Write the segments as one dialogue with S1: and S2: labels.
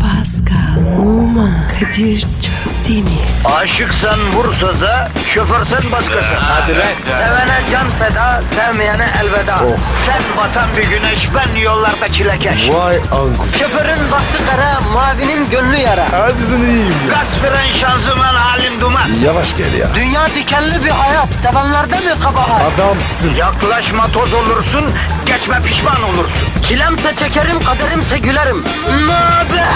S1: Pascal, Oman, Kadir çok değil mi?
S2: Aşıksan vursa da şoförsen başkasın.
S3: Hadi lan. Oh.
S2: Sevene can feda, sevmeyene elveda. Sen batan bir güneş, ben yollarda çilekeş.
S4: Vay anku.
S2: Şoförün baktı kara, mavinin gönlü yara.
S4: Hadi sen iyiyim ya.
S2: Kasperen şanzıman halin duman.
S4: Yavaş gel ya.
S2: Dünya dikenli bir hayat, sevenlerde mi kabahar?
S4: Adamsın.
S2: Yaklaşma toz olursun, geçme pişman olursun. Çilemse çekerim, kaderimse gülerim. Möber!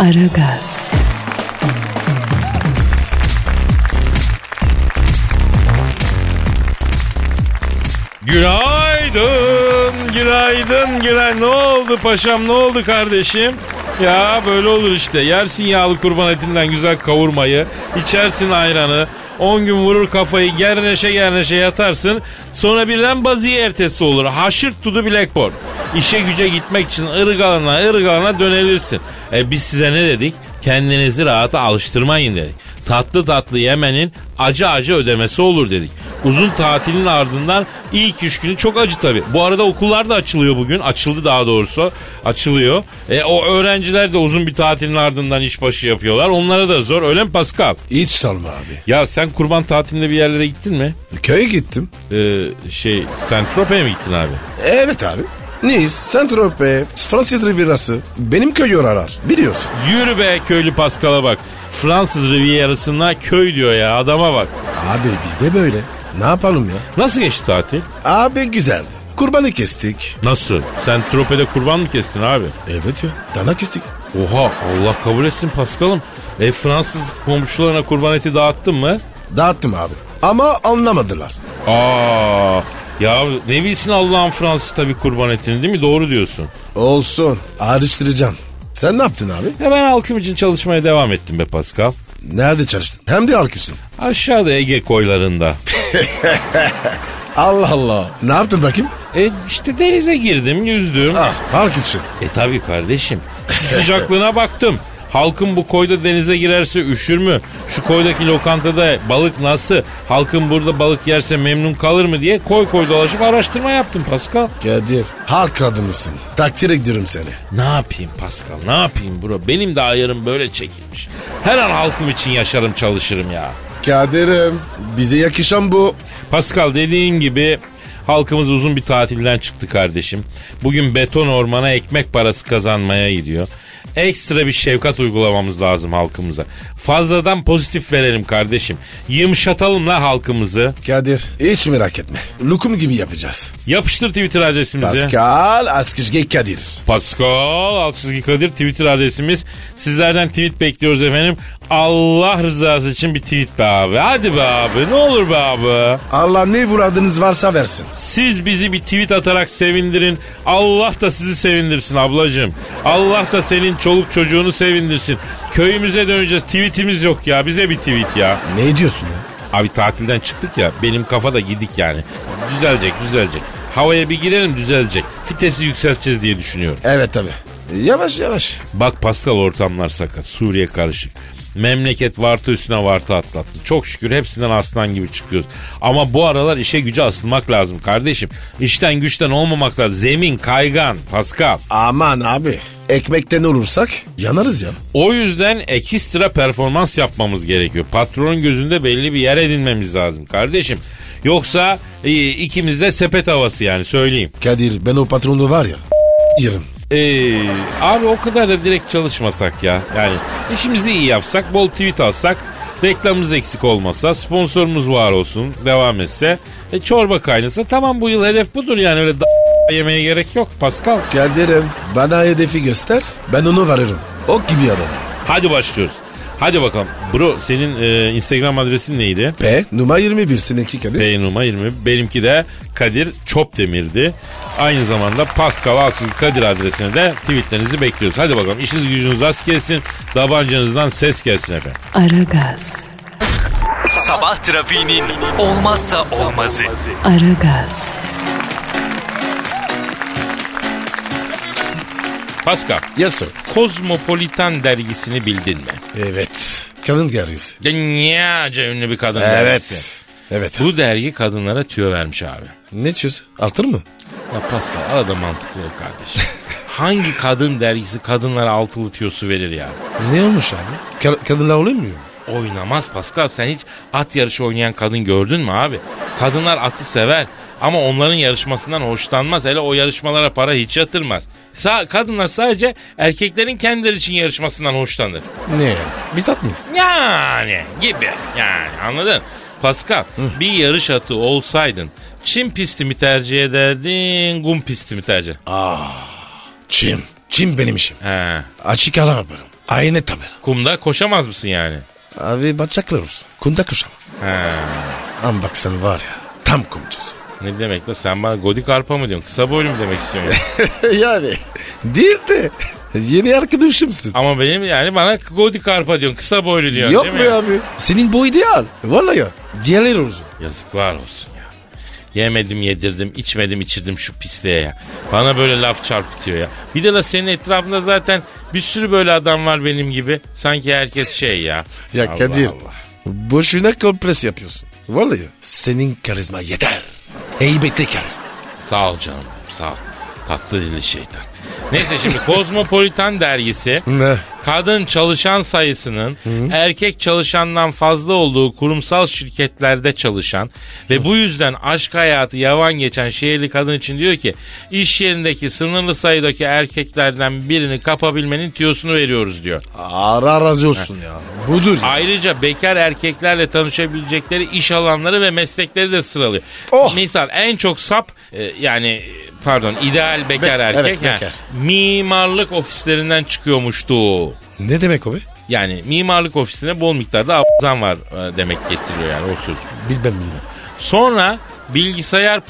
S1: Aragaz,
S3: Günaydın, günaydın, günaydın. Ne oldu paşam, ne oldu kardeşim? Ya böyle olur işte. Yersin yağlı kurban etinden güzel kavurmayı, içersin ayranı, 10 gün vurur kafayı, gerneşe gerneşe yatarsın. Sonra birden baziye ertesi olur. Haşırt tudu blackboard. İşe güce gitmek için ırgalana ırgalana dönelirsin. E biz size ne dedik? Kendinizi rahata alıştırmayın dedik. Tatlı tatlı yemenin acı acı ödemesi olur dedik. Uzun tatilin ardından ilk üç günü çok acı tabii. Bu arada okullar da açılıyor bugün. Açıldı daha doğrusu. Açılıyor. E, o öğrenciler de uzun bir tatilin ardından işbaşı yapıyorlar. Onlara da zor. Öyle mi Pascal?
S4: Hiç salma abi.
S3: Ya sen kurban tatilinde bir yerlere gittin mi?
S4: Köye gittim.
S3: Ee, şey, sen Trope'ye mi gittin abi?
S4: Evet abi. Nice, Saint-Tropez, Fransız Riviera'sı. Benim köy yoralar. Biliyorsun.
S3: Yürü be köylü Paskal'a bak. Fransız Riviera'sına köy diyor ya adama bak.
S4: Abi bizde böyle. Ne yapalım ya?
S3: Nasıl geçti tatil?
S4: Abi güzeldi. Kurbanı kestik.
S3: Nasıl? Sen Trope'de kurban mı kestin abi?
S4: Evet ya. Dana kestik.
S3: Oha Allah kabul etsin Paskal'ım. E Fransız komşularına kurban eti dağıttın mı?
S4: Dağıttım abi. Ama anlamadılar.
S3: Aa ya ne bilsin Allah'ın Fransız tabii kurban etini değil mi? Doğru diyorsun.
S4: Olsun. Ağrıştıracağım. Sen ne yaptın abi?
S3: Ya ben halkım için çalışmaya devam ettim be Paskal.
S4: Nerede çalıştın? Hem de arkasın.
S3: Aşağıda Ege koylarında.
S4: Allah Allah. Ne yaptın bakayım?
S3: E işte denize girdim yüzdüm.
S4: Ah, arkasın.
S3: E tabii kardeşim. Sıcaklığına baktım. Halkın bu koyda denize girerse üşür mü? Şu koydaki lokantada balık nasıl? Halkın burada balık yerse memnun kalır mı diye koy koy dolaşıp araştırma yaptım Pascal.
S4: Kadir, halk kadınısın. Takdir ediyorum seni.
S3: Ne yapayım Pascal ne yapayım bro? Benim de ayarım böyle çekilmiş. Her an halkım için yaşarım çalışırım ya.
S4: Kadir'im, bize yakışan bu.
S3: Pascal dediğin gibi halkımız uzun bir tatilden çıktı kardeşim. Bugün beton ormana ekmek parası kazanmaya gidiyor. Ekstra bir şefkat uygulamamız lazım halkımıza. Fazladan pozitif verelim kardeşim. Yumuşatalım la halkımızı.
S4: Kadir, hiç merak etme. Lokum gibi yapacağız.
S3: Yapıştır Twitter adresimizi.
S4: Pascal Askışge Kadir.
S3: Pascal Alçızgi Kadir Twitter adresimiz. Sizlerden tweet bekliyoruz efendim. Allah rızası için bir tweet be abi. Hadi be abi ne olur be abi.
S4: Allah ne vuradınız varsa versin.
S3: Siz bizi bir tweet atarak sevindirin. Allah da sizi sevindirsin ablacığım. Allah da senin çoluk çocuğunu sevindirsin. Köyümüze döneceğiz. Tweetimiz yok ya. Bize bir tweet ya.
S4: Ne diyorsun ya?
S3: Abi tatilden çıktık ya. Benim kafa da gidik yani. Düzelecek düzelecek. Havaya bir girelim düzelecek. Fitesi yükselteceğiz diye düşünüyorum.
S4: Evet tabi. Yavaş yavaş.
S3: Bak Pascal ortamlar sakat. Suriye karışık. Memleket vartı üstüne vartı atlattı. Çok şükür hepsinden aslan gibi çıkıyoruz. Ama bu aralar işe güce asılmak lazım kardeşim. İşten güçten olmamak lazım. Zemin kaygan Pascal.
S4: Aman abi. Ekmekten olursak yanarız ya.
S3: O yüzden ekstra performans yapmamız gerekiyor. Patronun gözünde belli bir yer edinmemiz lazım kardeşim. Yoksa e, ikimiz de sepet havası yani söyleyeyim.
S4: Kadir ben o patronu var ya. Yerim.
S3: Ee, abi o kadar da direkt çalışmasak ya. Yani işimizi iyi yapsak, bol tweet alsak, reklamımız eksik olmasa, sponsorumuz var olsun, devam etse, e, çorba kaynasa tamam bu yıl hedef budur yani öyle da yemeye gerek yok Pascal.
S4: Kadir'im bana hedefi göster. Ben onu varırım. Ok gibi adam.
S3: Hadi başlıyoruz. Hadi bakalım. Bro senin e, Instagram adresin neydi?
S4: P numara 21 seninki Kadir.
S3: Beynuma 20. Benimki de Kadir Çopdemir'di. Aynı zamanda Pascal Aksız Kadir adresine de tweetlerinizi bekliyoruz. Hadi bakalım işiniz gücünüz rast gelsin. Davancanızdan ses gelsin efendim.
S1: Aragaz,
S5: Sabah trafiğinin olmazsa olmazı.
S1: Aragaz,
S3: Pascal,
S4: Yes sir.
S3: Kozmopolitan dergisini bildin mi?
S4: Evet. Kadın gerisi.
S3: Dünyaca ünlü bir kadın dergisi.
S4: Evet. şey. Evet.
S3: Bu dergi kadınlara tüyo vermiş abi.
S4: Ne diyorsun? Artır mı?
S3: Ya Pascal arada mantıklı ol kardeşim. hangi kadın dergisi kadınlara altılı tiyosu verir ya?
S4: Ne olmuş abi? Ka- kadınlar oluyor mu?
S3: Oynamaz Pascal sen hiç at yarışı oynayan kadın gördün mü abi? Kadınlar atı sever ama onların yarışmasından hoşlanmaz. Hele o yarışmalara para hiç yatırmaz. Sa- kadınlar sadece erkeklerin kendileri için yarışmasından hoşlanır.
S4: Ne? Biz atmayız.
S3: Yani gibi yani anladın? Pascal bir yarış atı olsaydın Çin pisti mi tercih ederdin, kum pisti mi tercih?
S4: Çim. Çim benim işim.
S3: He.
S4: Açık ara yaparım. Aynı tabi.
S3: Kumda koşamaz mısın yani?
S4: Abi batacaklar olsun. Kumda kuşam.
S3: He.
S4: Ama bak sen var ya tam kumcusun.
S3: Ne demek la sen bana godik arpa mı diyorsun? Kısa boylu mu demek istiyorsun? yani?
S4: yani değil de yeni arkadaşımsın.
S3: Ama benim yani bana godik arpa diyorsun. Kısa boylu diyorsun
S4: Yok
S3: değil
S4: mu
S3: mi? ya?
S4: abi? Senin boy ideal. Vallahi ya. Diğerler uzun.
S3: Yazıklar olsun ya. Yemedim yedirdim içmedim içirdim şu pisliğe ya. Bana böyle laf çarpıtıyor ya. Bir de la senin etrafında zaten bir sürü böyle adam var benim gibi. Sanki herkes şey ya.
S4: Ya
S3: Allah
S4: Kadir.
S3: Allah.
S4: Boşuna kompres yapıyorsun. Vallahi ya. Senin karizma yeter. Heybetli karizma.
S3: Sağ ol canım sağ ol. Tatlı dilli şeytan. Neyse şimdi Kozmopolitan dergisi
S4: Ne?
S3: kadın çalışan sayısının erkek çalışandan fazla olduğu kurumsal şirketlerde çalışan ve bu yüzden aşk hayatı yavan geçen şehirli kadın için diyor ki iş yerindeki sınırlı sayıdaki erkeklerden birini kapabilmenin tüyosunu veriyoruz diyor.
S4: Ara razı olsun ya. Budur ya.
S3: Ayrıca bekar erkeklerle tanışabilecekleri iş alanları ve meslekleri de sıralıyor.
S4: Oh!
S3: Misal en çok sap e, yani e, pardon ideal bekar
S4: Be-
S3: erkek
S4: evet,
S3: ha,
S4: bekar.
S3: mimarlık ofislerinden çıkıyormuştu.
S4: Ne demek o be?
S3: Yani mimarlık ofisine bol miktarda abzan var e, demek getiriyor yani o söz.
S4: Bilmem bilmem.
S3: Sonra bilgisayar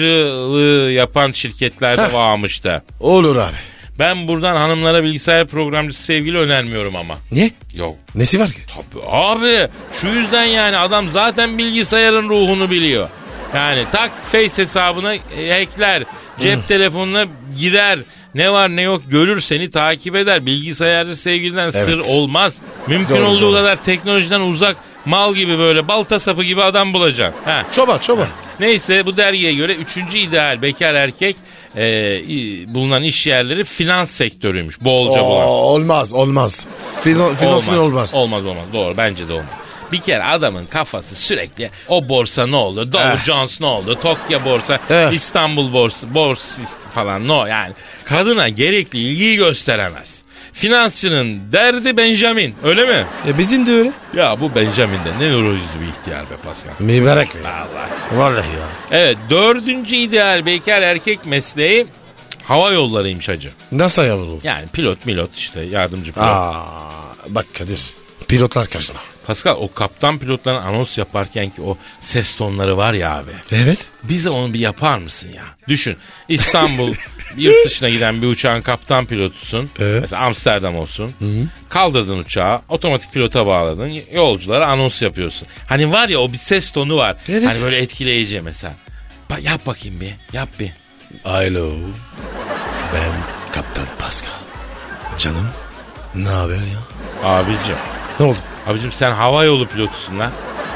S3: programcılığı yapan şirketlerde
S4: Heh.
S3: varmış da.
S4: Olur abi.
S3: Ben buradan hanımlara bilgisayar programcısı sevgili önermiyorum ama.
S4: Niye?
S3: Yok
S4: Nesi var ki?
S3: Tabii abi şu yüzden yani adam zaten bilgisayarın ruhunu biliyor. Yani tak face hesabına e, hackler, cep telefonuna girer. Ne var ne yok görür seni takip eder. Bilgisayarda sevgiliden sır olmaz. Mümkün
S4: Doğru,
S3: olduğu
S4: doğru.
S3: kadar teknolojiden uzak mal gibi böyle balta sapı gibi adam bulacaksın. Ha.
S4: Çoba çoba.
S3: Neyse bu dergiye göre üçüncü ideal bekar erkek e, i- bulunan iş yerleri finans sektörüymüş. Bolca bulan.
S4: Oo, olmaz olmaz. Finan, finansman olmaz.
S3: Olmaz olmaz. Doğru bence de olmaz. Bir kere adamın kafası sürekli o borsa ne oldu? Dow
S4: Eh.
S3: Jones ne oldu? Tokyo borsa,
S4: Eh.
S3: İstanbul borsa, borsa falan no yani. Kadına gerekli ilgiyi gösteremez. Finansçının derdi Benjamin öyle mi?
S4: E bizim de öyle.
S3: Ya bu Benjamin'de ne nuru yüzlü bir ihtiyar be Pascal.
S4: Mübarek be.
S3: Allah.
S4: Vallahi ya.
S3: Evet dördüncü ideal bekar erkek mesleği hava yollarıymış hacı.
S4: Nasıl yavrum?
S3: Yani pilot milot işte yardımcı pilot.
S4: Aa, bak Kadir. Pilotlar karşına.
S3: Pascal o kaptan pilotların anons yaparken ki o ses tonları var ya abi.
S4: Evet.
S3: Bize onu bir yapar mısın ya? Düşün İstanbul yurt dışına giden bir uçağın kaptan pilotusun.
S4: Ee?
S3: Mesela Amsterdam olsun. Kaldırdın uçağı otomatik pilota bağladın. Yolculara anons yapıyorsun. Hani var ya o bir ses tonu var.
S4: Evet.
S3: Hani böyle etkileyici mesela. Ba- yap bakayım bir yap bir.
S4: Alo. Ben Kaptan Pascal. Canım. Ne haber ya?
S3: Abicim.
S4: Ne oldu?
S3: Abicim sen hava yolu pilotusun lan.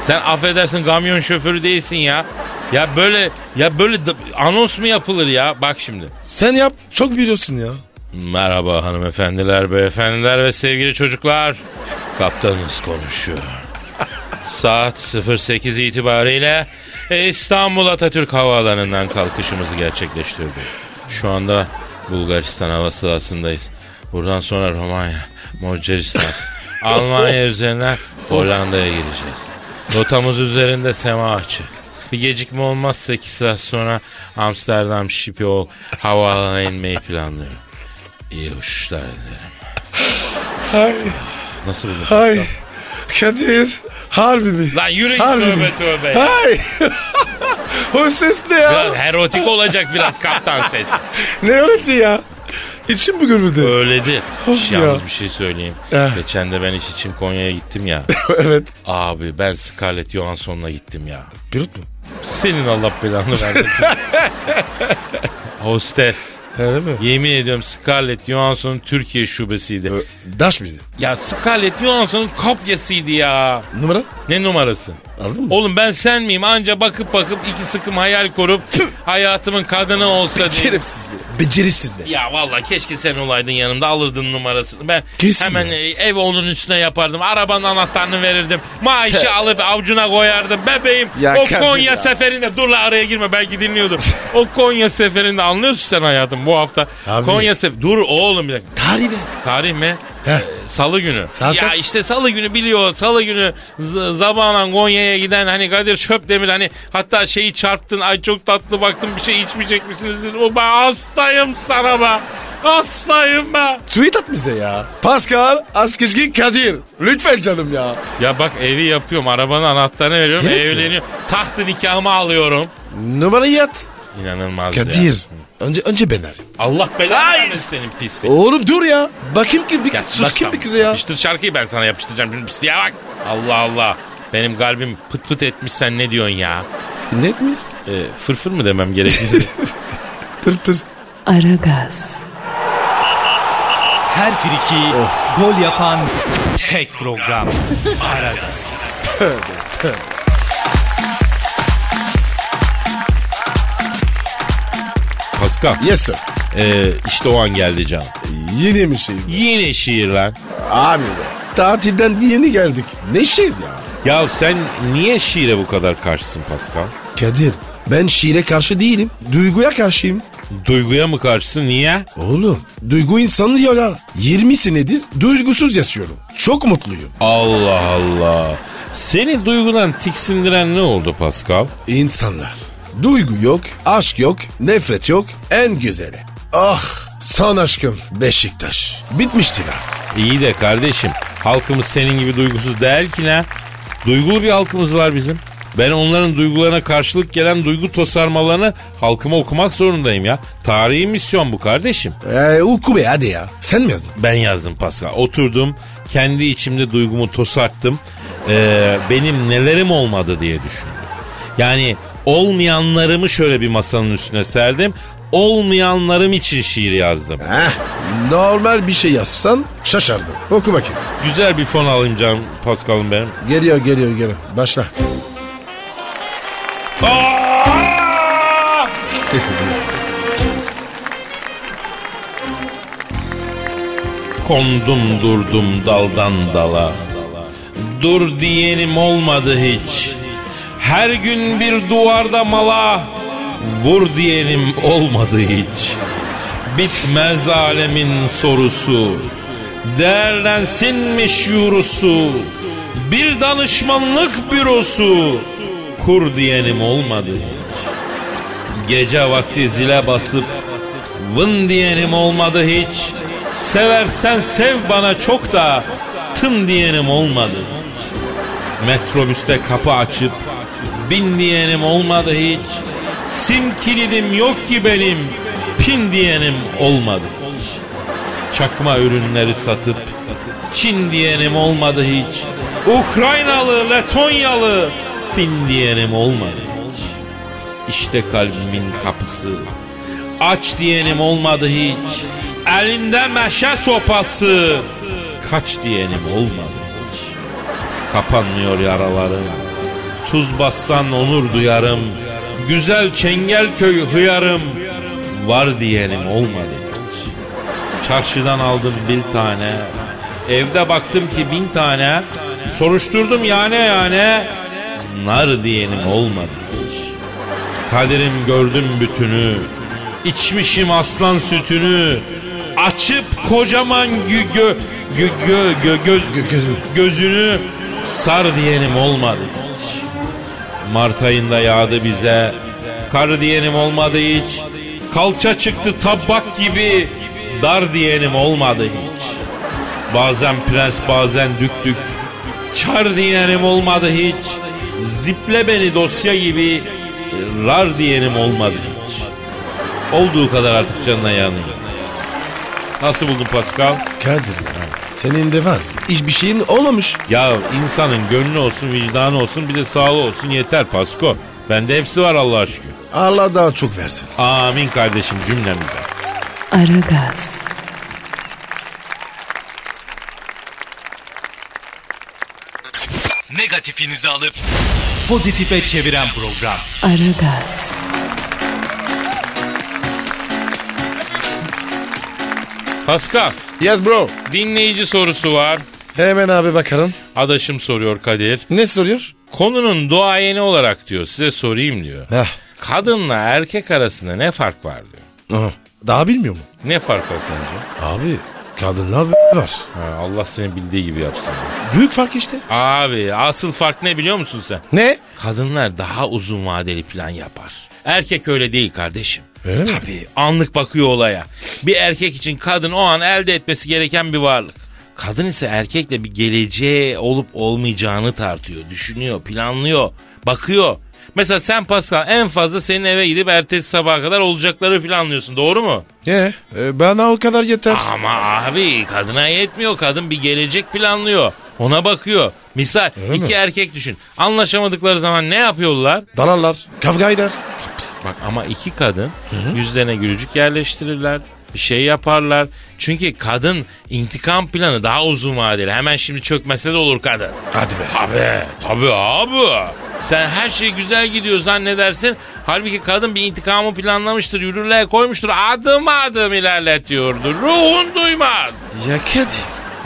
S3: Sen affedersin kamyon şoförü değilsin ya. Ya böyle ya böyle d- anons mu yapılır ya? Bak şimdi.
S4: Sen yap. Çok biliyorsun ya.
S3: Merhaba hanımefendiler, beyefendiler ve sevgili çocuklar. Kaptanınız konuşuyor. Saat 08 itibariyle e, İstanbul Atatürk Havaalanı'ndan kalkışımızı gerçekleştirdik. Şu anda Bulgaristan hava sahasındayız. Buradan sonra Romanya, Macaristan, Almanya üzerinden Hollanda'ya gireceğiz. Rotamız üzerinde sema açık. Bir gecikme olmazsa 2 saat sonra Amsterdam Schiphol havaalanına inmeyi planlıyorum. İyi uçuşlar dilerim.
S4: Hay
S3: Nasıl buldun?
S4: hay. Kadir. Harbi mi?
S3: Lan yürü git
S4: Harbi
S3: tövbe
S4: mi?
S3: tövbe. ya.
S4: Hay. o ses ne ya?
S3: Biraz erotik olacak biraz kaptan ses.
S4: Ne öğreti ya? İçim bu gürültü.
S3: Öyledir.
S4: Of ya.
S3: Yalnız bir şey söyleyeyim.
S4: Eh.
S3: Geçen de ben iş için Konya'ya gittim ya.
S4: evet.
S3: Abi ben Scarlett Johansson'la gittim ya.
S4: Pilot mu?
S3: Senin Allah belanı versin. Hostes.
S4: Öyle mi?
S3: Yemin ediyorum Scarlett Johansson'un Türkiye şubesiydi.
S4: Daş mıydı?
S3: Ya Scarlett Johansson'un kopyasıydı ya.
S4: Numara?
S3: Ne numarası?
S4: Aldın mı?
S3: Oğlum ben sen miyim? Anca bakıp bakıp iki sıkım hayal kurup hayatımın kadını olsa diye.
S4: Şerefsiz be. Becerisiz be.
S3: Ya valla keşke sen olaydın yanımda alırdın numarasını. Ben
S4: Kesin
S3: hemen
S4: ya.
S3: e, ev onun üstüne yapardım. Arabanın anahtarını verirdim. Maaşı alıp avcuna koyardım. Bebeğim
S4: Ya
S3: o
S4: Kadir
S3: Konya
S4: ya.
S3: seferinde dur la araya girme belki dinliyordum. o Konya seferinde anlıyorsun sen hayatım bu hafta.
S4: Abi.
S3: Konya sefer dur oğlum bir dakika.
S4: Tarih be.
S3: Tarih mi?
S4: Heh.
S3: Salı günü.
S4: Saat
S3: ya
S4: kaç?
S3: işte salı günü biliyor. Salı günü z- zamanla Konya'ya giden hani Kadir Çöpdemir hani hatta şeyi çarptın. Ay çok tatlı baktım bir şey içmeyecek misiniz? dedim. O ben hastayım sana be. Hastayım be.
S4: Tweet at bize ya. Pascal Askizgi Kadir. Lütfen canım ya.
S3: Ya bak evi yapıyorum. Arabanın anahtarını veriyorum.
S4: Evet ya.
S3: evleniyorum. Tahtı nikahımı alıyorum.
S4: Numarayı at.
S3: İnanılmaz ya.
S4: Kadir. Önce önce ben arayayım.
S3: Allah belanı
S4: Ay.
S3: vermesin senin pislik.
S4: Oğlum dur ya. Bakayım ki bir,
S3: Ya
S4: sus
S3: bak
S4: bakayım
S3: tamam,
S4: bir kıza ya.
S3: Yapıştır şarkıyı ben sana yapıştıracağım. Şimdi pisliğe bak. Allah Allah. Benim kalbim pıt pıt etmiş sen ne diyorsun ya?
S4: Net mi?
S3: E, fırfır mı demem gerekir?
S4: Tır tır.
S1: Aragaz,
S5: Her friki gol yapan tek program. Aragaz.
S3: Pascal.
S4: Yes sir.
S3: E, işte o an geldi canım.
S4: Yeni mi şey?
S3: Yine şiir lan.
S4: Abi be. Tatilden yeni geldik. Ne şey ya?
S3: Ya sen niye şiire bu kadar karşısın Pascal?
S4: Kadir ben şiire karşı değilim. Duyguya karşıyım.
S3: Duyguya mı karşısın niye?
S4: Oğlum duygu insanı yorar. 20 senedir duygusuz yaşıyorum. Çok mutluyum.
S3: Allah Allah. Seni duygudan tiksindiren ne oldu Pascal?
S4: İnsanlar. Duygu yok, aşk yok, nefret yok. En güzeli. Ah san aşkım Beşiktaş. Bitmişti lan.
S3: İyi de kardeşim halkımız senin gibi duygusuz değil ki ne? Duygulu bir halkımız var bizim. Ben onların duygularına karşılık gelen duygu tosarmalarını halkıma okumak zorundayım ya. Tarihi misyon bu kardeşim.
S4: Ee, oku be hadi ya. Sen mi yazdın?
S3: Ben yazdım Pascal. Oturdum kendi içimde duygumu tosarttım. Ee, benim nelerim olmadı diye düşündüm. Yani olmayanlarımı şöyle bir masanın üstüne serdim. Olmayanlarım için şiir yazdım.
S4: Heh, normal bir şey yazsan şaşardım. Oku bakayım.
S3: Güzel bir fon alayım canım Pascal'ım benim.
S4: Geliyor geliyor geliyor. Başla.
S3: Aa! Kondum durdum daldan dala Dur diyenim olmadı hiç Her gün bir duvarda mala Vur diyenim olmadı hiç Bitmez alemin sorusu Değerlensinmiş yurusu Bir danışmanlık bürosu Kur diyenim olmadı hiç Gece vakti zile basıp Vın diyenim olmadı hiç Seversen sev bana çok da Tın diyenim olmadı hiç Metrobüste kapı açıp Bin diyenim olmadı hiç Sim kilidim yok ki benim Pin diyenim olmadı hiç Çakma ürünleri satıp Çin diyenim olmadı hiç Ukraynalı, Letonyalı Fin diyenim olmadı hiç İşte kalbimin kapısı Aç diyenim olmadı hiç Elinde meşe sopası Kaç diyenim olmadı hiç Kapanmıyor yaralarım Tuz bassan onur duyarım Güzel Çengelköy hıyarım Var diyenim olmadı hiç Çarşıdan aldım bir tane. Evde baktım ki bin tane. Soruşturdum yani yani. Nar diyenim olmadı hiç. Kaderim gördüm bütünü. İçmişim aslan sütünü. Açıp kocaman gü gö gö gö, gö- göz- gözünü sar diyenim olmadı hiç. Mart ayında yağdı bize. Kar diyenim olmadı hiç. Kalça çıktı tabak gibi. Dar diyenim olmadı hiç. Bazen prens bazen dük dük. Çar diyenim olmadı hiç. Ziple beni dosya gibi. Rar diyenim olmadı hiç. Olduğu kadar artık canına yanayım. Nasıl buldun Pascal?
S4: Kadir ya. Senin de var. Hiçbir şeyin olmamış.
S3: Ya insanın gönlü olsun, vicdanı olsun, bir de sağlığı olsun yeter Pasko. Bende hepsi var Allah'a şükür.
S4: Allah daha çok versin.
S3: Amin kardeşim cümlemize.
S1: Aragaz.
S5: negatifinizi alıp pozitife çeviren program.
S1: Aragaz,
S3: Pascal
S4: Yes bro.
S3: dinleyici sorusu var.
S4: Hemen abi bakalım.
S3: Adaşım soruyor Kadir.
S4: Ne soruyor?
S3: Konunun doğayeni olarak diyor size sorayım diyor.
S4: Heh.
S3: Kadınla erkek arasında ne fark var diyor.
S4: Aha. Daha bilmiyor mu?
S3: Ne fark var sence?
S4: Abi kadınlar b- var.
S3: Ha, Allah seni bildiği gibi yapsın.
S4: Büyük fark işte.
S3: Abi asıl fark ne biliyor musun sen?
S4: Ne?
S3: Kadınlar daha uzun vadeli plan yapar. Erkek öyle değil kardeşim.
S4: Öyle mi?
S3: Tabii anlık bakıyor olaya. Bir erkek için kadın o an elde etmesi gereken bir varlık. Kadın ise erkekle bir geleceğe olup olmayacağını tartıyor, düşünüyor, planlıyor, bakıyor. Mesela sen Pascal en fazla senin eve gidip ertesi sabaha kadar olacakları planlıyorsun doğru mu?
S4: Ee, e, bana o kadar yeter.
S3: Ama abi kadına yetmiyor. Kadın bir gelecek planlıyor. Ona bakıyor. Misal
S4: Öyle
S3: iki
S4: mi?
S3: erkek düşün. Anlaşamadıkları zaman ne yapıyorlar?
S4: Dalarlar. Kavga eder.
S3: Bak ama iki kadın yüzlerine gülücük yerleştirirler. Bir şey yaparlar. Çünkü kadın intikam planı daha uzun vadeli. Hemen şimdi çökmese de olur kadın.
S4: Hadi be.
S3: Tabii. Tabii abi. Sen her şey güzel gidiyor zannedersin. Halbuki kadın bir intikamı planlamıştır, yürürlüğe koymuştur. Adım adım ilerletiyordur. Ruhun duymaz.
S4: Ya Kadir.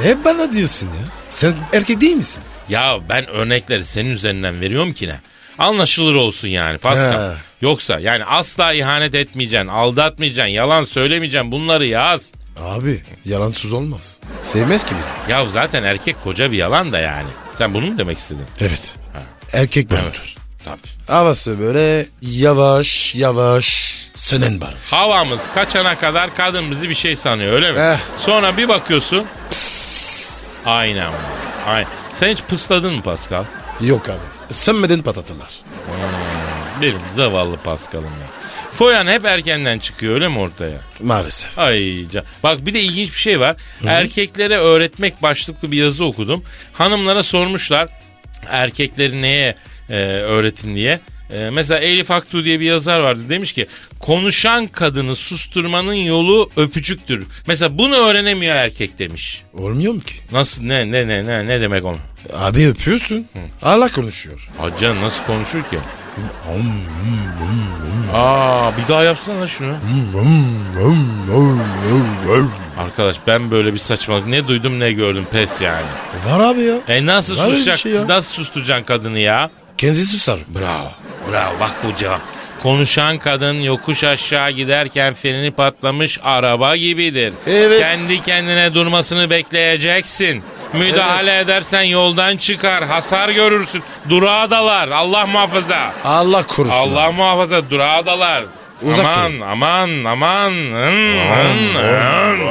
S4: Hep bana diyorsun ya. Sen erkek değil misin?
S3: Ya ben örnekleri senin üzerinden veriyorum ki ne? Anlaşılır olsun yani Pascal.
S4: He.
S3: Yoksa yani asla ihanet etmeyeceksin, aldatmayacaksın, yalan söylemeyeceksin bunları yaz.
S4: Abi yalansız olmaz. Sevmez ki beni.
S3: Ya zaten erkek koca bir yalan da yani. Sen bunu mu demek istedin?
S4: Evet. Erkek ben otur.
S3: Tabii.
S4: Havası böyle yavaş yavaş sönen var.
S3: Havamız kaçana kadar kadın bizi bir şey sanıyor öyle mi?
S4: Eh.
S3: Sonra bir bakıyorsun. Aynen. Aynen. Sen hiç pısladın mı Pascal?
S4: Yok abi. Sönmeden patatalar.
S3: Benim zavallı Pascal'ım ya. Foyan hep erkenden çıkıyor öyle mi ortaya?
S4: Maalesef.
S3: Ay can. Bak bir de ilginç bir şey var. Erkeklere öğretmek başlıklı bir yazı okudum. Hanımlara sormuşlar erkekleri neye e, öğretin diye. E, mesela Elif Aktu diye bir yazar vardı. Demiş ki konuşan kadını susturmanın yolu öpücüktür. Mesela bunu öğrenemiyor erkek demiş.
S4: Olmuyor mu ki?
S3: Nasıl ne ne ne ne ne demek onu?
S4: Abi öpüyorsun. Allah konuşuyor.
S3: Hacı nasıl konuşur ki? Aa bir daha yapsana şunu.
S4: Hmm,
S3: Arkadaş ben böyle bir saçmalık ne duydum ne gördüm pes yani.
S4: Var abi ya.
S3: E nasıl
S4: Var öyle bir
S3: susacak?
S4: şey ya.
S3: Nasıl susturacaksın kadını ya?
S4: Kendisi susar.
S3: Bravo. Bravo bak bu cevap. Konuşan kadın yokuş aşağı giderken freni patlamış araba gibidir.
S4: Evet.
S3: Kendi kendine durmasını bekleyeceksin. Müdahale edersen yoldan çıkar, hasar görürsün. Durağa dalar, Allah muhafaza.
S4: Allah korusun.
S3: Allah muhafaza durağa dalar.
S4: Uzak
S3: aman,
S4: durun.
S3: aman aman Hın, hın,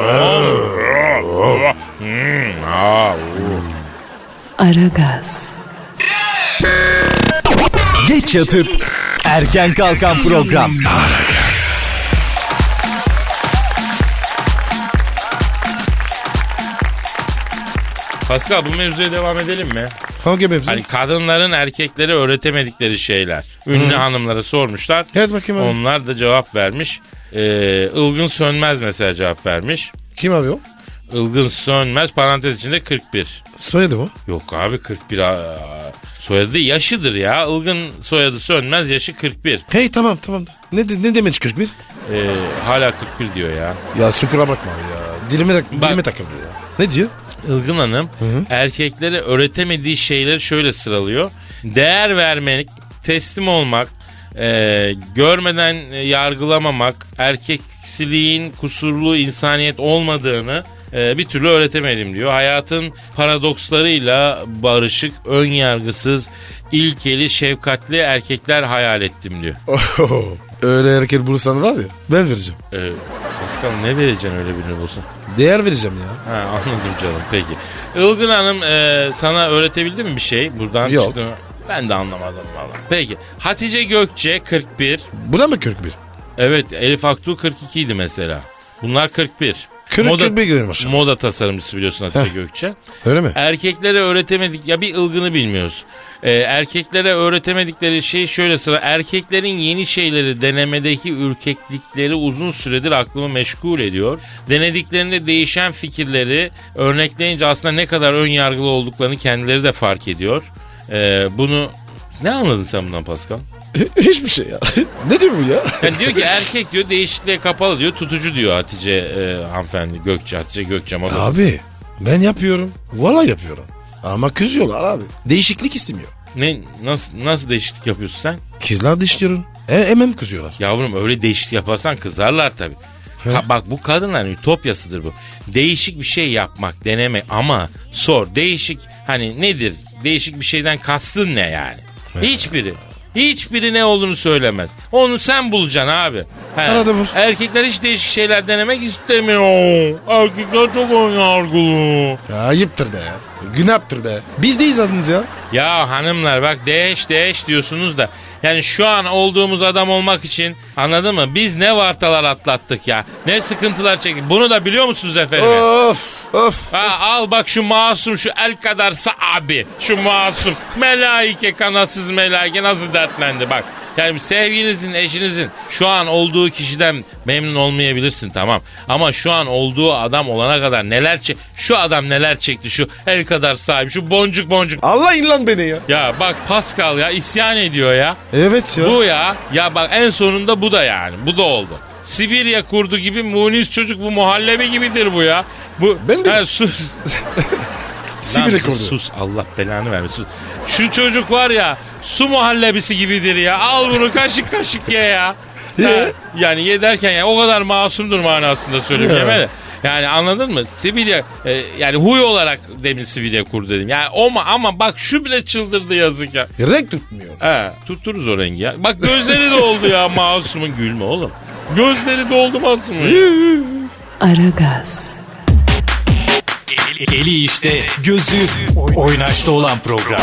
S3: hın. Hmm, aa, uh.
S1: Aragaz,
S5: Geç yatıp erken kalkan program.
S3: Pascal bu mevzuya devam edelim mi?
S4: Hangi mevzu?
S3: Hani kadınların erkeklere öğretemedikleri şeyler. Ünlü hanımlara sormuşlar.
S4: Evet bakayım abi.
S3: Onlar da cevap vermiş. Ee, Ilgın Sönmez mesela cevap vermiş.
S4: Kim abi o?
S3: Ilgın Sönmez parantez içinde 41.
S4: Soyadı mı?
S3: Yok abi 41 aa, soyadı yaşıdır ya. Ilgın soyadı Sönmez yaşı 41.
S4: Hey tamam tamam. Ne, de- ne demek 41?
S3: Ee, hala 41 diyor ya.
S4: Ya sukura bakma abi ya. Dilime, tak-
S3: Bak.
S4: dilime takıldı ya. Ne diyor?
S3: Ilgın Hanım erkeklere öğretemediği şeyleri şöyle sıralıyor. Değer vermek, teslim olmak, e, görmeden e, yargılamamak, erkeksiliğin kusurlu insaniyet olmadığını e, bir türlü öğretemedim diyor. Hayatın paradokslarıyla barışık, ön yargısız, ilkeli, şefkatli erkekler hayal ettim diyor.
S4: Oho. Öyle erkek bulursan var ya ben vereceğim.
S3: E, Pascal ne vereceksin öyle birini bulsun?
S4: Değer vereceğim ya.
S3: Ha, anladım canım peki. Ilgın Hanım e, sana öğretebildi mi bir şey? Buradan
S4: Yok.
S3: çıktı mı? Ben de anlamadım valla. Peki Hatice Gökçe 41.
S4: Buna mı 41?
S3: Evet Elif Aktu 42 idi mesela. Bunlar 41.
S4: 40 41 girmiş.
S3: Moda tasarımcısı biliyorsun Hatice
S4: Heh.
S3: Gökçe.
S4: Öyle mi?
S3: Erkeklere öğretemedik ya bir ılgını bilmiyoruz. Ee, erkeklere öğretemedikleri şey şöyle sıra. Erkeklerin yeni şeyleri denemedeki ürkeklikleri uzun süredir aklımı meşgul ediyor. Denediklerinde değişen fikirleri örnekleyince aslında ne kadar ön yargılı olduklarını kendileri de fark ediyor. Ee, bunu ne anladın sen bundan Pascal?
S4: Hiçbir şey ya. ne diyor bu ya?
S3: Yani diyor ki erkek diyor değişikliğe kapalı diyor tutucu diyor Hatice e, hanımefendi Gökçe Hatice Gökçe ama
S4: Abi ben yapıyorum. Valla yapıyorum. Ama kızıyorlar abi. Değişiklik istemiyor.
S3: ne nasıl nasıl değişiklik yapıyorsun sen?
S4: Kızlar dişliyorum. E, hemen kızıyorlar.
S3: Yavrum öyle değişiklik yaparsan kızarlar tabii. Ka- bak bu kadınların ütopyasıdır bu. Değişik bir şey yapmak, denemek ama sor değişik hani nedir? Değişik bir şeyden kastın ne yani? Hiçbiri. Hiçbiri ne olduğunu söylemez. Onu sen bulacaksın abi. He.
S4: Arada bul.
S3: Erkekler hiç değişik şeyler denemek istemiyor. Erkekler çok ön yargılı.
S4: Ya, ayıptır be ya. Günahtır be. Biz deyiz adınız ya.
S3: Ya hanımlar bak değiş değiş diyorsunuz da yani şu an olduğumuz adam olmak için anladın mı? Biz ne vartalar atlattık ya. Ne sıkıntılar çektik. Bunu da biliyor musunuz efendim?
S4: Of of.
S3: Ha, al bak şu masum şu el kadarsa abi. Şu masum melaike kanatsız melaike nasıl dertlendi bak. Yani sevginizin, eşinizin şu an olduğu kişiden memnun olmayabilirsin tamam. Ama şu an olduğu adam olana kadar neler çek... Şu adam neler çekti şu el kadar sahibi şu boncuk boncuk
S4: Allah in lan beni ya.
S3: ya bak Pascal ya isyan ediyor ya.
S4: Evet ya.
S3: Bu ya. Ya bak en sonunda bu da yani. Bu da oldu. Sibirya kurdu gibi munis çocuk bu muhallebi gibidir bu ya. Bu
S4: Ben de-
S3: Ha, sus.
S4: Sibir
S3: Lan
S4: rekoru.
S3: Sus Allah belanı vermesin. Sus. Şu çocuk var ya su muhallebisi gibidir ya. Al bunu kaşık kaşık ye ya.
S4: Ye.
S3: Ha, yani ye derken yani o kadar masumdur manasında söyleyeyim
S4: Ya.
S3: yeme de. Yani anladın mı? Sibirya e, yani huy olarak demin Sibirya kur dedim. Yani o ma- ama bak şu bile çıldırdı yazık ya.
S4: Renk tutmuyor.
S3: He, tuttururuz o rengi ya. Bak gözleri doldu ya masumun gülme oğlum. Gözleri doldu masumun. ya.
S1: Aragaz,
S5: Eli, eli işte, gözü oynaşta olan program.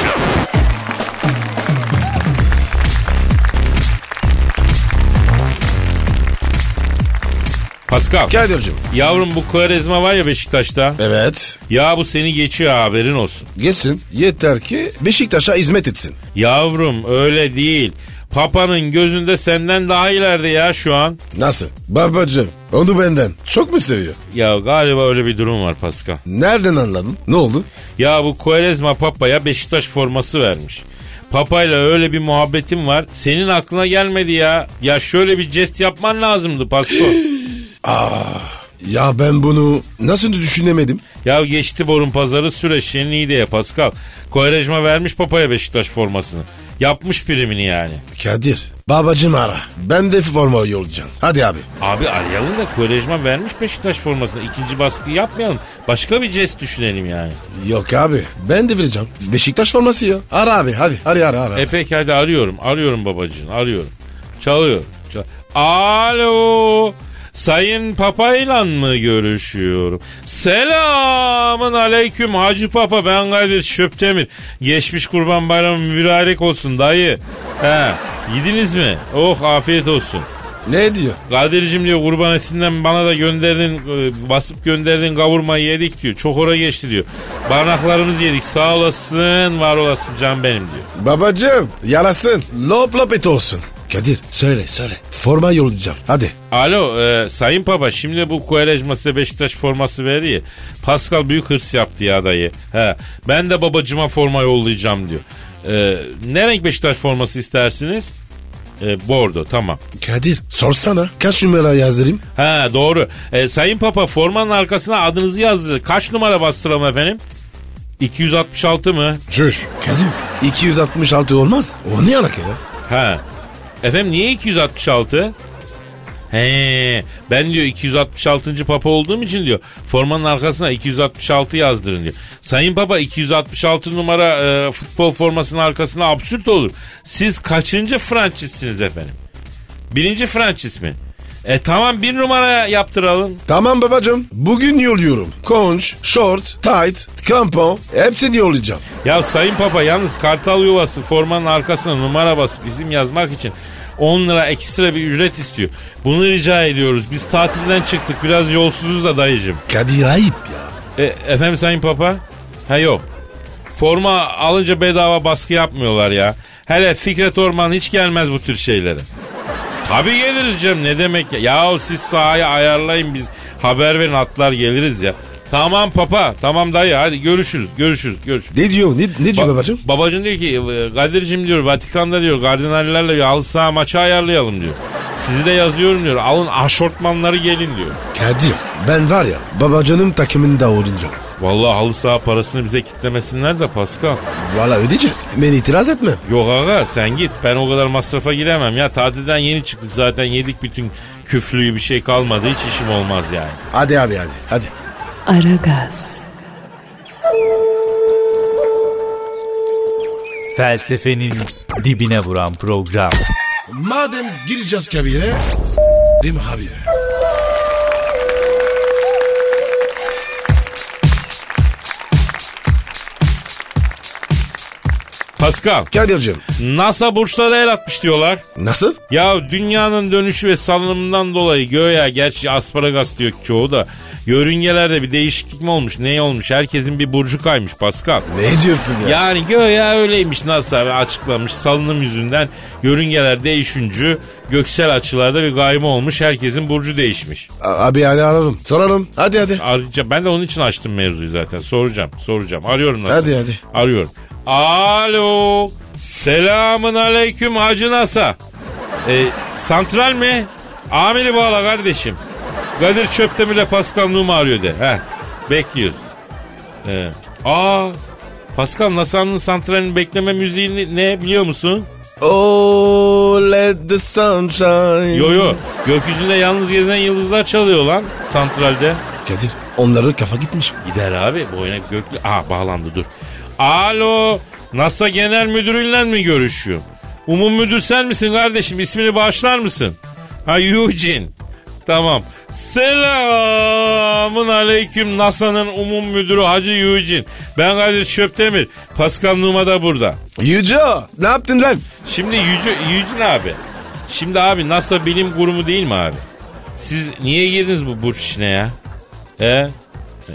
S3: Pascal.
S4: Kadir'cim.
S3: Yavrum bu Kuarezma var ya Beşiktaş'ta.
S4: Evet.
S3: Ya bu seni geçiyor haberin olsun.
S4: Geçsin. Yeter ki Beşiktaş'a hizmet etsin.
S3: Yavrum öyle değil. Papa'nın gözünde senden daha ileride ya şu an.
S4: Nasıl? Babacım onu benden. Çok mu seviyor?
S3: Ya galiba öyle bir durum var Pascal.
S4: Nereden anladın? Ne oldu?
S3: Ya bu Kuarezma Papa'ya Beşiktaş forması vermiş. Papa'yla öyle bir muhabbetim var. Senin aklına gelmedi ya. Ya şöyle bir jest yapman lazımdı Pasko.
S4: Ya ben bunu nasıl düşünemedim?
S3: Ya geçti borun pazarı süreç iyi diye Pascal. Koyrejma vermiş papaya Beşiktaş formasını. Yapmış primini yani.
S4: Kadir. Babacım ara. Ben de forma yollayacağım. Hadi abi.
S3: Abi arayalım da Koyrejma vermiş Beşiktaş formasını. İkinci baskı yapmayalım. Başka bir jest düşünelim yani.
S4: Yok abi. Ben de vereceğim. Beşiktaş forması ya. Ara abi hadi. Hadi ara ara.
S3: E peki hadi arıyorum. Arıyorum babacığım arıyorum. Çalıyor. Çal- Alo. Sayın Papa'yla mı görüşüyorum? Selamın aleyküm Hacı Papa ben Kadir Şöptemir. Geçmiş kurban bayramı mübarek olsun dayı. He, yediniz mi? Oh afiyet olsun.
S4: Ne diyor?
S3: Kadir'cim diyor kurban etinden bana da gönderdin e, basıp gönderdin kavurmayı yedik diyor. Çok ora geçti diyor. Barnaklarımızı yedik sağ olasın var olasın can benim diyor.
S4: Babacım yarasın. Lop lop et olsun. Kadir söyle söyle. Forma yollayacağım. Hadi.
S3: Alo e, Sayın Papa şimdi bu Kuerejma size Beşiktaş forması verdi ya. Pascal büyük hırs yaptı ya dayı. He, ben de babacıma forma yollayacağım diyor. E, ne renk Beşiktaş forması istersiniz? E, bordo tamam.
S4: Kadir sorsana. Kaç numara yazdırayım?
S3: Ha doğru. E, Sayın Papa formanın arkasına adınızı yazdı. Kaç numara bastıralım efendim? 266 mı?
S4: Cür. Kadir 266 olmaz. O ne alaka ya?
S3: Ha. Efendim niye 266? He, ben diyor 266. papa olduğum için diyor formanın arkasına 266 yazdırın diyor. Sayın Papa 266 numara e, futbol formasının arkasına absürt olur. Siz kaçıncı Fransızsınız efendim? Birinci Fransız mi? E tamam bir numara yaptıralım.
S4: Tamam babacım. Bugün yolluyorum. Konç, short, tight, krampon hepsini yollayacağım.
S3: Ya Sayın Papa yalnız kartal yuvası formanın arkasına numara basıp isim yazmak için 10 lira ekstra bir ücret istiyor. Bunu rica ediyoruz. Biz tatilden çıktık biraz yolsuzuz da dayıcım.
S4: Kadir ayıp ya.
S3: E, efendim Sayın Papa? Ha yok. Forma alınca bedava baskı yapmıyorlar ya. Hele Fikret Orman hiç gelmez bu tür şeylere. Tabii geliriz Cem ne demek ya. Yahu siz sahayı ayarlayın biz haber verin atlar geliriz ya. Tamam papa tamam dayı hadi görüşürüz görüşürüz görüşürüz.
S4: Ne diyor? Ne, ne diyor
S3: Ba-
S4: babacığım?
S3: Babacığım diyor ki e, Kadir'cim diyor Vatikan'da diyor kardinallerle diyor, halı saha maçı ayarlayalım diyor. Sizi de yazıyorum diyor. Alın aşortmanları gelin diyor.
S4: Kadir ben var ya babacanın takımında olunca.
S3: Vallahi halı saha parasını bize kitlemesinler de Pascal.
S4: Valla ödeyeceğiz. Ben itiraz etme.
S3: Yok aga sen git ben o kadar masrafa giremem ya tatilden yeni çıktık zaten yedik bütün küflüyü bir şey kalmadı hiç işim olmaz yani.
S4: Hadi abi hadi. Hadi.
S1: Aragaz,
S5: Felsefenin dibine vuran program.
S4: Madem gireceğiz kabire. Değil abi?
S3: Pascal
S4: Kadir'cim.
S3: NASA burçlara el atmış diyorlar.
S4: Nasıl?
S3: Ya dünyanın dönüşü ve salınımından dolayı göğe gerçi asparagas diyor çoğu da yörüngelerde bir değişiklik mi olmuş ne olmuş herkesin bir burcu kaymış Pascal.
S4: Ne diyorsun ya?
S3: Yani göğe öyleymiş NASA açıklamış salınım yüzünden yörüngeler değişince göksel açılarda bir kayma olmuş herkesin burcu değişmiş.
S4: A- Abi hani ararım. Sorarım. Hadi hadi.
S3: Arayacağım. Ben de onun için açtım mevzuyu zaten. Soracağım, soracağım. Arıyorum nasıl?
S4: Hadi, hadi.
S3: Arıyorum. Alo. Selamın aleyküm Hacı Nasa. E, santral mi? Amiri bağla kardeşim. Kadir Çöptemir ile Pascal Numa arıyor de. Heh, bekliyoruz. Ee, aa, Pascal Nasa'nın santralini bekleme müziği ne- ne biliyor musun?
S4: Oh let the sunshine.
S3: Yo yo. Gökyüzünde yalnız gezen yıldızlar çalıyor lan santralde.
S4: Kadir onların kafa gitmiş.
S3: Gider abi boyuna göklü. Aa bağlandı dur. Alo NASA Genel Müdürü'yle mi görüşüyorum? Umum müdür sen misin kardeşim? İsmini bağışlar mısın? Ha Eugene. Tamam. Selamın aleyküm NASA'nın umum müdürü Hacı Eugene. Ben Kadir Çöptemir. Pascal Numa da burada.
S4: Yüce ne yaptın lan?
S3: Şimdi Yüce, Yücün abi. Şimdi abi NASA bilim kurumu değil mi abi? Siz niye girdiniz bu burç işine ya? E?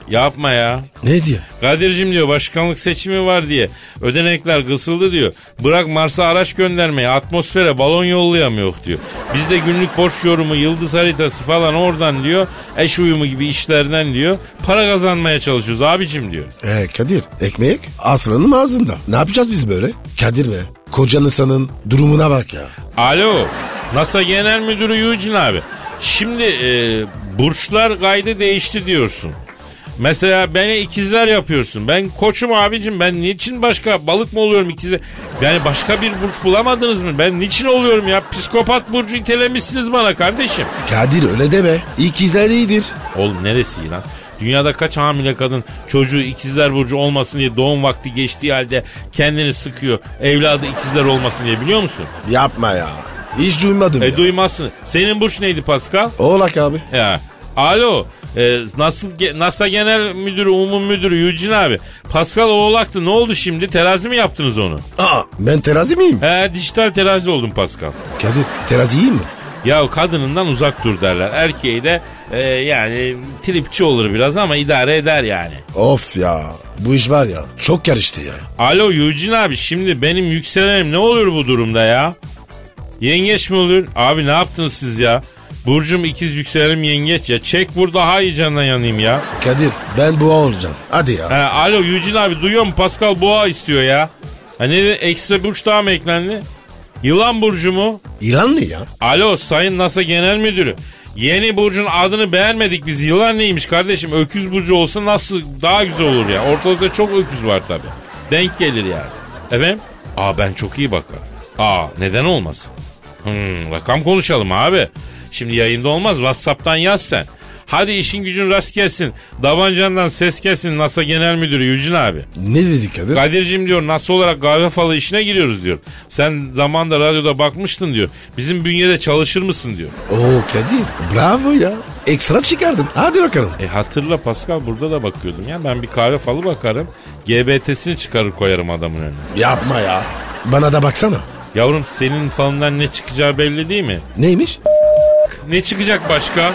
S3: Yapma ya.
S4: Ne diyor?
S3: Kadir'cim diyor başkanlık seçimi var diye ödenekler kısıldı diyor. Bırak Mars'a araç göndermeye atmosfere balon yollayamıyor diyor. Biz de günlük borç yorumu yıldız haritası falan oradan diyor eş uyumu gibi işlerden diyor para kazanmaya çalışıyoruz abicim diyor.
S4: Ee, Kadir ekmek aslanın ağzında. Ne yapacağız biz böyle? Kadir be kocanın sanın durumuna bak ya.
S3: Alo NASA Genel Müdürü Yücin abi. Şimdi e, burçlar kaydı değişti diyorsun. Mesela beni ikizler yapıyorsun. Ben koçum abicim ben niçin başka balık mı oluyorum ikizler? Yani başka bir burç bulamadınız mı? Ben niçin oluyorum ya? Psikopat burcu itelemişsiniz bana kardeşim.
S4: Kadir öyle deme. İkizler iyidir.
S3: Oğlum neresi lan? Dünyada kaç hamile kadın çocuğu ikizler burcu olmasın diye doğum vakti geçtiği halde kendini sıkıyor. Evladı ikizler olmasın diye biliyor musun?
S4: Yapma ya. Hiç duymadım
S3: E
S4: ya.
S3: duymazsın. Senin burç neydi Pascal?
S4: Oğlak abi.
S3: Ya. Alo. e, nasıl ge- NASA Genel Müdürü, Umum Müdürü Yücin abi. Pascal Oğlak'tı. Ne oldu şimdi? Terazi mi yaptınız onu?
S4: Aa ben terazi miyim?
S3: He dijital terazi oldun Pascal.
S4: Kadir terazi iyi mi?
S3: Ya kadınından uzak dur derler. Erkeği de e, yani tripçi olur biraz ama idare eder yani.
S4: Of ya. Bu iş var ya çok karıştı ya.
S3: Alo Yücin abi şimdi benim yükselenim ne olur bu durumda ya? Yengeç mi olur? Abi ne yaptınız siz ya? Burcum ikiz yükselenim yengeç ya. Çek vur daha iyi canına yanayım ya.
S4: Kadir ben boğa olacağım. Hadi ya.
S3: Ha, alo Yücin abi duyuyor mu? Pascal Boğa istiyor ya. Ha ne dedi? ekstra burç daha mı eklendi? Yılan burcu mu?
S4: İranlı ya.
S3: Alo Sayın NASA Genel Müdürü. Yeni burcun adını beğenmedik biz. Yılan neymiş kardeşim? Öküz burcu olsa nasıl daha güzel olur ya. Ortalıkta çok öküz var tabi. Denk gelir yani. Efendim? Aa ben çok iyi bakarım. Aa neden olmasın? Hmm, rakam konuşalım abi. Şimdi yayında olmaz. Whatsapp'tan yaz sen. Hadi işin gücün rast gelsin. Davancandan ses gelsin NASA Genel Müdürü Yücün abi.
S4: Ne dedi Kadir?
S3: Kadir'cim diyor nasıl olarak kahve falı işine giriyoruz diyor. Sen zamanda radyoda bakmıştın diyor. Bizim bünyede çalışır mısın diyor.
S4: Oo Kadir bravo ya. Ekstra şey çıkardın. Hadi bakalım.
S3: E hatırla Pascal burada da bakıyordum ya. Ben bir kahve falı bakarım. GBT'sini çıkarır koyarım adamın önüne.
S4: Yapma ya. Bana da baksana.
S3: Yavrum senin falından ne çıkacağı belli değil mi?
S4: Neymiş?
S3: Ne çıkacak başka?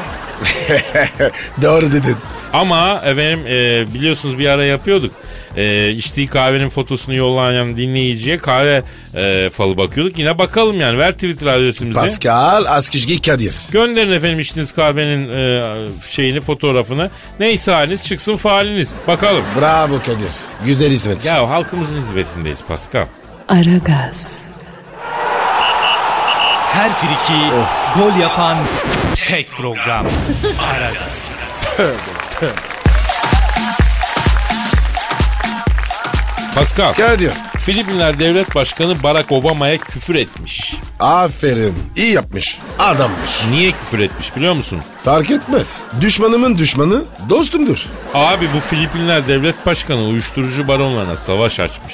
S4: Doğru dedin.
S3: Ama efendim e, biliyorsunuz bir ara yapıyorduk. E, içtiği kahvenin fotosunu yollayan dinleyiciye kahve e, falı bakıyorduk. Yine bakalım yani ver Twitter adresimizi.
S4: Pascal Askizgi Kadir.
S3: Gönderin efendim içtiğiniz kahvenin e, şeyini fotoğrafını. Neyse haliniz çıksın faaliniz. Bakalım.
S4: Bravo Kadir. Güzel hizmet.
S3: Ya halkımızın hizmetindeyiz Pascal.
S1: Aragaz,
S5: Her friki gol yapan tek program. Aragaz.
S3: Pascal.
S4: Kadir.
S3: Filipinler Devlet Başkanı Barack Obama'ya küfür etmiş.
S4: Aferin. İyi yapmış. Adammış.
S3: Niye küfür etmiş biliyor musun?
S4: Fark etmez. Düşmanımın düşmanı dostumdur.
S3: Abi bu Filipinler Devlet Başkanı uyuşturucu baronlarına savaş açmış.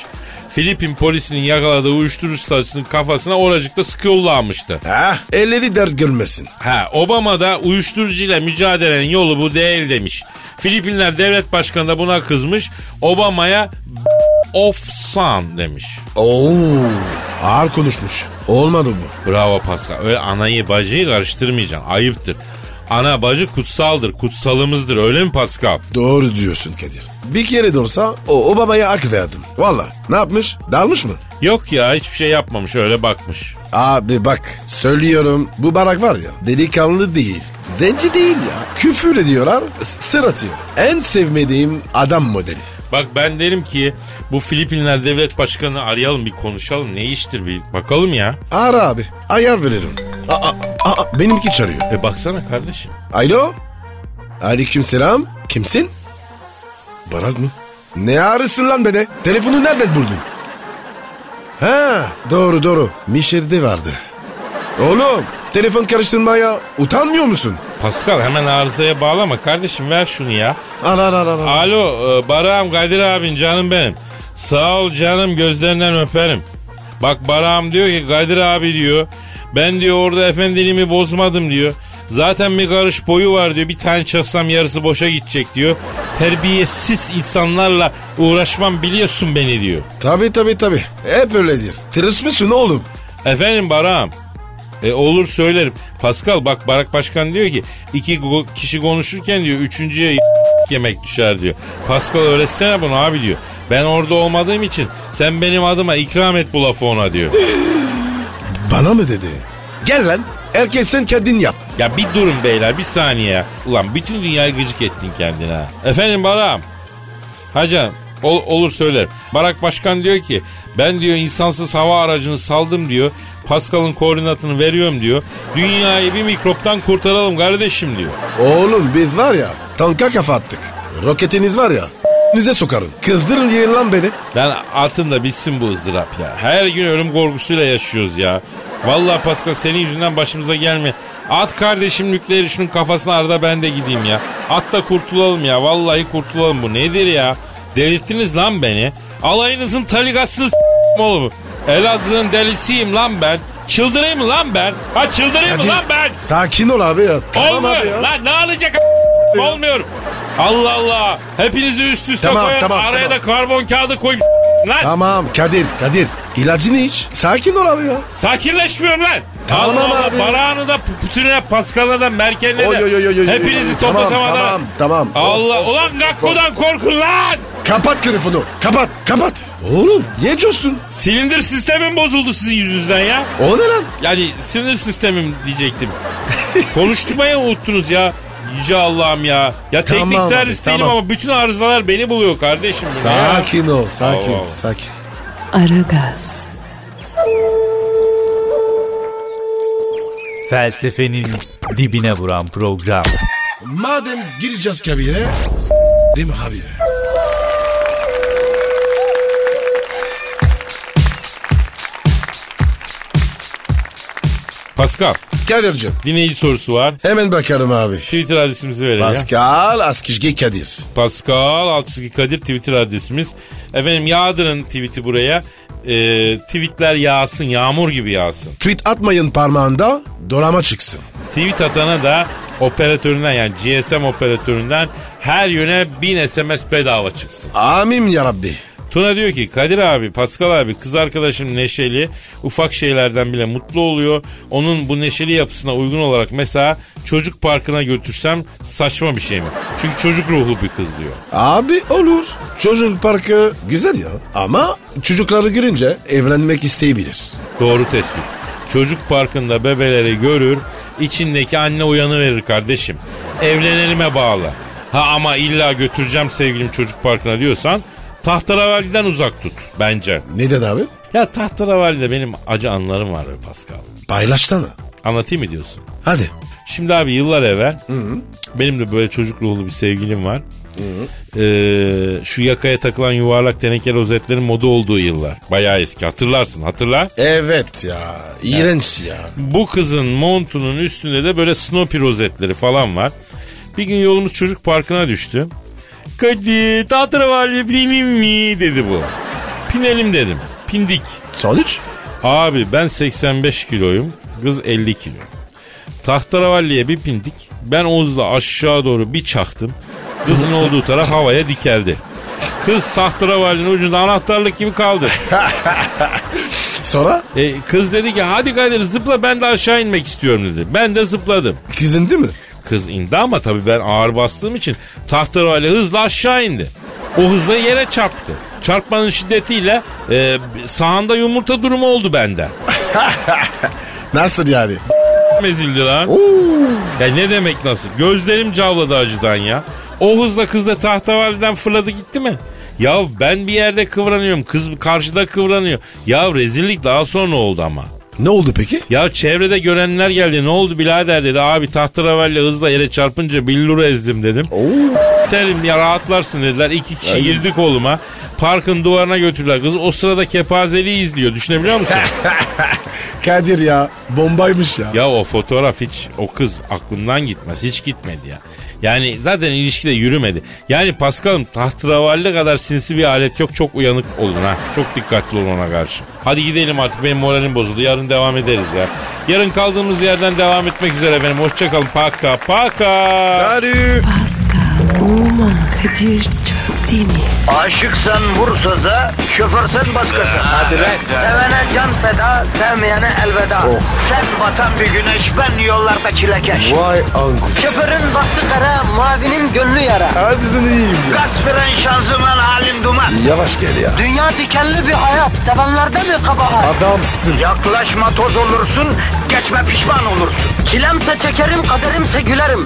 S3: Filipin polisinin yakaladığı uyuşturucu saçının kafasına oracıkta sıkıyorlarmıştı.
S4: Heh, elleri dert görmesin.
S3: Ha Obama da uyuşturucuyla mücadelenin yolu bu değil demiş. Filipinler Devlet Başkanı da buna kızmış. Obama'ya of son demiş.
S4: Oo, ağır konuşmuş. Olmadı bu.
S3: Bravo Pascal. Öyle anayı bacıyı karıştırmayacaksın. Ayıptır. Ana bacı kutsaldır. Kutsalımızdır. Öyle mi Pascal?
S4: Doğru diyorsun Kadir. Bir kere de olsa o, o babaya hak verdim. Valla ne yapmış? Dalmış mı?
S3: Yok ya hiçbir şey yapmamış. Öyle bakmış.
S4: Abi bak söylüyorum bu barak var ya delikanlı değil. Zenci değil ya. Küfür ediyorlar s- sır atıyor. En sevmediğim adam modeli.
S3: Bak ben derim ki bu Filipinler devlet başkanını arayalım bir konuşalım. Ne iştir bir bakalım ya.
S4: Ara abi ayar veririm. Aa, aa, aa, benimki çağırıyor.
S3: E baksana kardeşim.
S4: Alo. Aleyküm selam. Kimsin? Barak mı? Ne ağrısın lan beni? Telefonu nereden buldun? Ha doğru doğru. Mişer'de vardı. Oğlum telefon karıştırmaya utanmıyor musun?
S3: Pascal hemen arızaya bağlama kardeşim ver şunu ya.
S4: Ara ara ara. ara.
S3: Alo e, Barağım Kadir abin canım benim. Sağ ol canım gözlerinden öperim. Bak Barağım diyor ki Kadir abi diyor. Ben diyor orada efendiliğimi bozmadım diyor. Zaten bir karış boyu var diyor. Bir tane çalsam yarısı boşa gidecek diyor. Terbiyesiz insanlarla uğraşmam biliyorsun beni diyor.
S4: Tabi tabi tabi. Hep öyledir. Tırışmışsın oğlum.
S3: Efendim Barak'ım. E olur söylerim. Pascal bak Barak Başkan diyor ki iki go- kişi konuşurken diyor üçüncüye y- yemek düşer diyor. Pascal öğretsene bunu abi diyor. Ben orada olmadığım için sen benim adıma ikram et bu lafı ona diyor.
S4: Bana mı dedi? Gel lan. Herkes sen kendin yap.
S3: Ya bir durun beyler bir saniye ya. Ulan bütün dünyayı gıcık ettin kendine. ha. Efendim Barak'ım. Hacan ol- olur söylerim. Barak Başkan diyor ki ben diyor insansız hava aracını saldım diyor. Pascal'ın koordinatını veriyorum diyor. Dünyayı bir mikroptan kurtaralım kardeşim diyor.
S4: Oğlum biz var ya tanka kafa attık. Roketiniz var ya. Nüze sokarım. Kızdırın yiyin lan beni.
S3: Ben atın da bitsin bu ızdırap ya. Her gün ölüm korkusuyla yaşıyoruz ya. Vallahi Pascal senin yüzünden başımıza gelme. At kardeşim nükleeri şunun kafasına arada ben de gideyim ya. At da kurtulalım ya. Vallahi kurtulalım bu. Nedir ya? Delirttiniz lan beni. Alayınızın taligasını s**tim oğlum. Elazığ'ın delisiyim lan ben. Çıldırayım mı lan ben? Ha çıldırayım mı
S4: Kadir,
S3: lan ben?
S4: Sakin ol abi ya. Tamam
S3: Olmuyor.
S4: abi ya.
S3: Lan ne alacak Olmuyor. Allah Allah. Hepinizi üst üste
S4: Tamam,
S3: koyun.
S4: tamam,
S3: Araya
S4: tamam.
S3: da karbon kağıdı koyun. Lan.
S4: Tamam Kadir Kadir. İlacını iç. Sakin ol abi ya.
S3: Sakinleşmiyorum lan.
S4: Tamam
S3: Allah Allah.
S4: abi.
S3: Barağını da Putin'e, Paskal'a da Merkel'e de.
S4: Oy, oy, oy, oy, oy.
S3: Hepinizi
S4: Tamam,
S3: toplasam adam.
S4: tamam, tamam.
S3: Allah.
S4: Of, of,
S3: Ulan Gakko'dan korkun lan.
S4: Kapat telefonu. Kapat kapat. Oğlum niye coştun?
S3: Silindir sistemim bozuldu sizin yüzünüzden ya.
S4: O ne lan?
S3: Yani sinir sistemim diyecektim. Konuşturmayı unuttunuz ya. Yüce Allah'ım ya. Ya teknik
S4: Tamam abi,
S3: servis değilim
S4: tamam.
S3: ama bütün arızalar beni buluyor kardeşim. bu ne ya?
S4: Sakin ol sakin
S3: Allah Allah.
S4: sakin.
S1: Aragaz,
S5: Felsefenin dibine vuran program.
S4: Madem gireceğiz kabire. Değil mi abi?
S3: Pascal
S4: Kadir'cim
S3: dinleyici sorusu var.
S4: hemen bakalım abi.
S3: Twitter adresimizi verelim ya.
S4: Pascal Askizgi Kadir.
S3: Pascal Altçizgi Kadir Twitter adresimiz. Efendim yağdırın tweet'i buraya. Ee, tweetler yağsın, yağmur gibi yağsın.
S4: Tweet atmayın parmağında dolama çıksın.
S3: Tweet atana da operatöründen yani GSM operatöründen her yöne 1000 SMS bedava çıksın.
S4: Amin ya Rabbi.
S3: Tuna diyor ki Kadir abi, Pascal abi kız arkadaşım neşeli. Ufak şeylerden bile mutlu oluyor. Onun bu neşeli yapısına uygun olarak mesela çocuk parkına götürsem saçma bir şey mi? Çünkü çocuk ruhlu bir kız diyor.
S4: Abi olur. Çocuk parkı güzel ya. Ama çocukları görünce evlenmek isteyebilir.
S3: Doğru tespit. Çocuk parkında bebeleri görür, içindeki anne uyanıverir kardeşim. Evlenelime bağlı. Ha ama illa götüreceğim sevgilim çocuk parkına diyorsan tahterevaliden uzak tut bence.
S4: Neden abi?
S3: Ya tahterevalide benim acı anlarım var be Pascal.
S4: Paylaşsana.
S3: Anlatayım mı diyorsun?
S4: Hadi.
S3: Şimdi abi yıllar evvel benim de böyle çocuk ruhlu bir sevgilim var. Ee, şu yakaya takılan yuvarlak teneke rozetlerin moda olduğu yıllar. Bayağı eski hatırlarsın hatırla.
S4: Evet ya. iğrenç ya.
S3: Bu kızın montunun üstünde de böyle Snoopy rozetleri falan var. Bir gün yolumuz çocuk parkına düştü. Kadir tatlı var binelim mi dedi bu. Pinelim dedim. Pindik.
S4: Sonuç?
S3: Abi ben 85 kiloyum. Kız 50 kilo. Tahtaravalliye bir pindik. Ben Oğuz'la aşağı doğru bir çaktım. Kızın olduğu taraf havaya dikeldi. Kız tahtaravallinin ucunda anahtarlık gibi kaldı.
S4: Sonra?
S3: E, kız dedi ki hadi Kadir zıpla ben de aşağı inmek istiyorum dedi. Ben de zıpladım.
S4: Kızındı mı?
S3: Kız indi ama tabii ben ağır bastığım için tahtarayla hızla aşağı indi. O hızla yere çarptı. Çarpmanın şiddetiyle e, sağında yumurta durumu oldu bende.
S4: Nasıl yani?
S3: Ezildi lan. Ya ne demek nasıl? Gözlerim cavladı acıdan ya. O hızla kız da tahtavaliden fırladı gitti mi? Ya ben bir yerde kıvranıyorum. Kız karşıda kıvranıyor. Ya rezillik daha sonra oldu ama.
S4: Ne oldu peki?
S3: Ya çevrede görenler geldi ne oldu birader dedi. Abi tahtaravelle hızla yere çarpınca billuru ezdim dedim. Terim ya rahatlarsın dediler. İki kişi girdi koluma. Parkın duvarına götürdüler kızı. O sırada kepazeli izliyor. Düşünebiliyor musun?
S4: Kadir ya. Bombaymış ya.
S3: ya o fotoğraf hiç o kız aklımdan gitmez. Hiç gitmedi ya. Yani zaten ilişkide yürümedi. Yani Paskal'ım tahtaravalle kadar sinsi bir alet yok. Çok uyanık olun ha. Çok dikkatli olun ona karşı. Hadi gidelim artık benim moralim bozuldu. Yarın devam ederiz ya. Yarın kaldığımız yerden devam etmek üzere efendim. Hoşçakalın. Paka paka.
S4: Sarı.
S1: Pascal, Oman, Kadir çok değil mi?
S2: Aşıksan vursa da, şoförsen başkasın. Hadi Sevene can feda, sevmeyene elveda. Sen batan bir güneş, ben yollarda çilekeş.
S4: Vay anku.
S2: Şoförün baktı kara, mavinin gönlü yara.
S4: Hadi sen iyiyim ya.
S2: Kasperen şanzıman halin duman.
S4: Yavaş gel ya.
S2: Dünya dikenli bir hayat, sevenlerde mi kabahar?
S4: Adamsın.
S2: Yaklaşma toz olursun, geçme pişman olursun. Çilemse çekerim, kaderimse gülerim.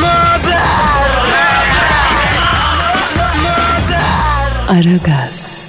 S2: Möber!
S1: Aragaz.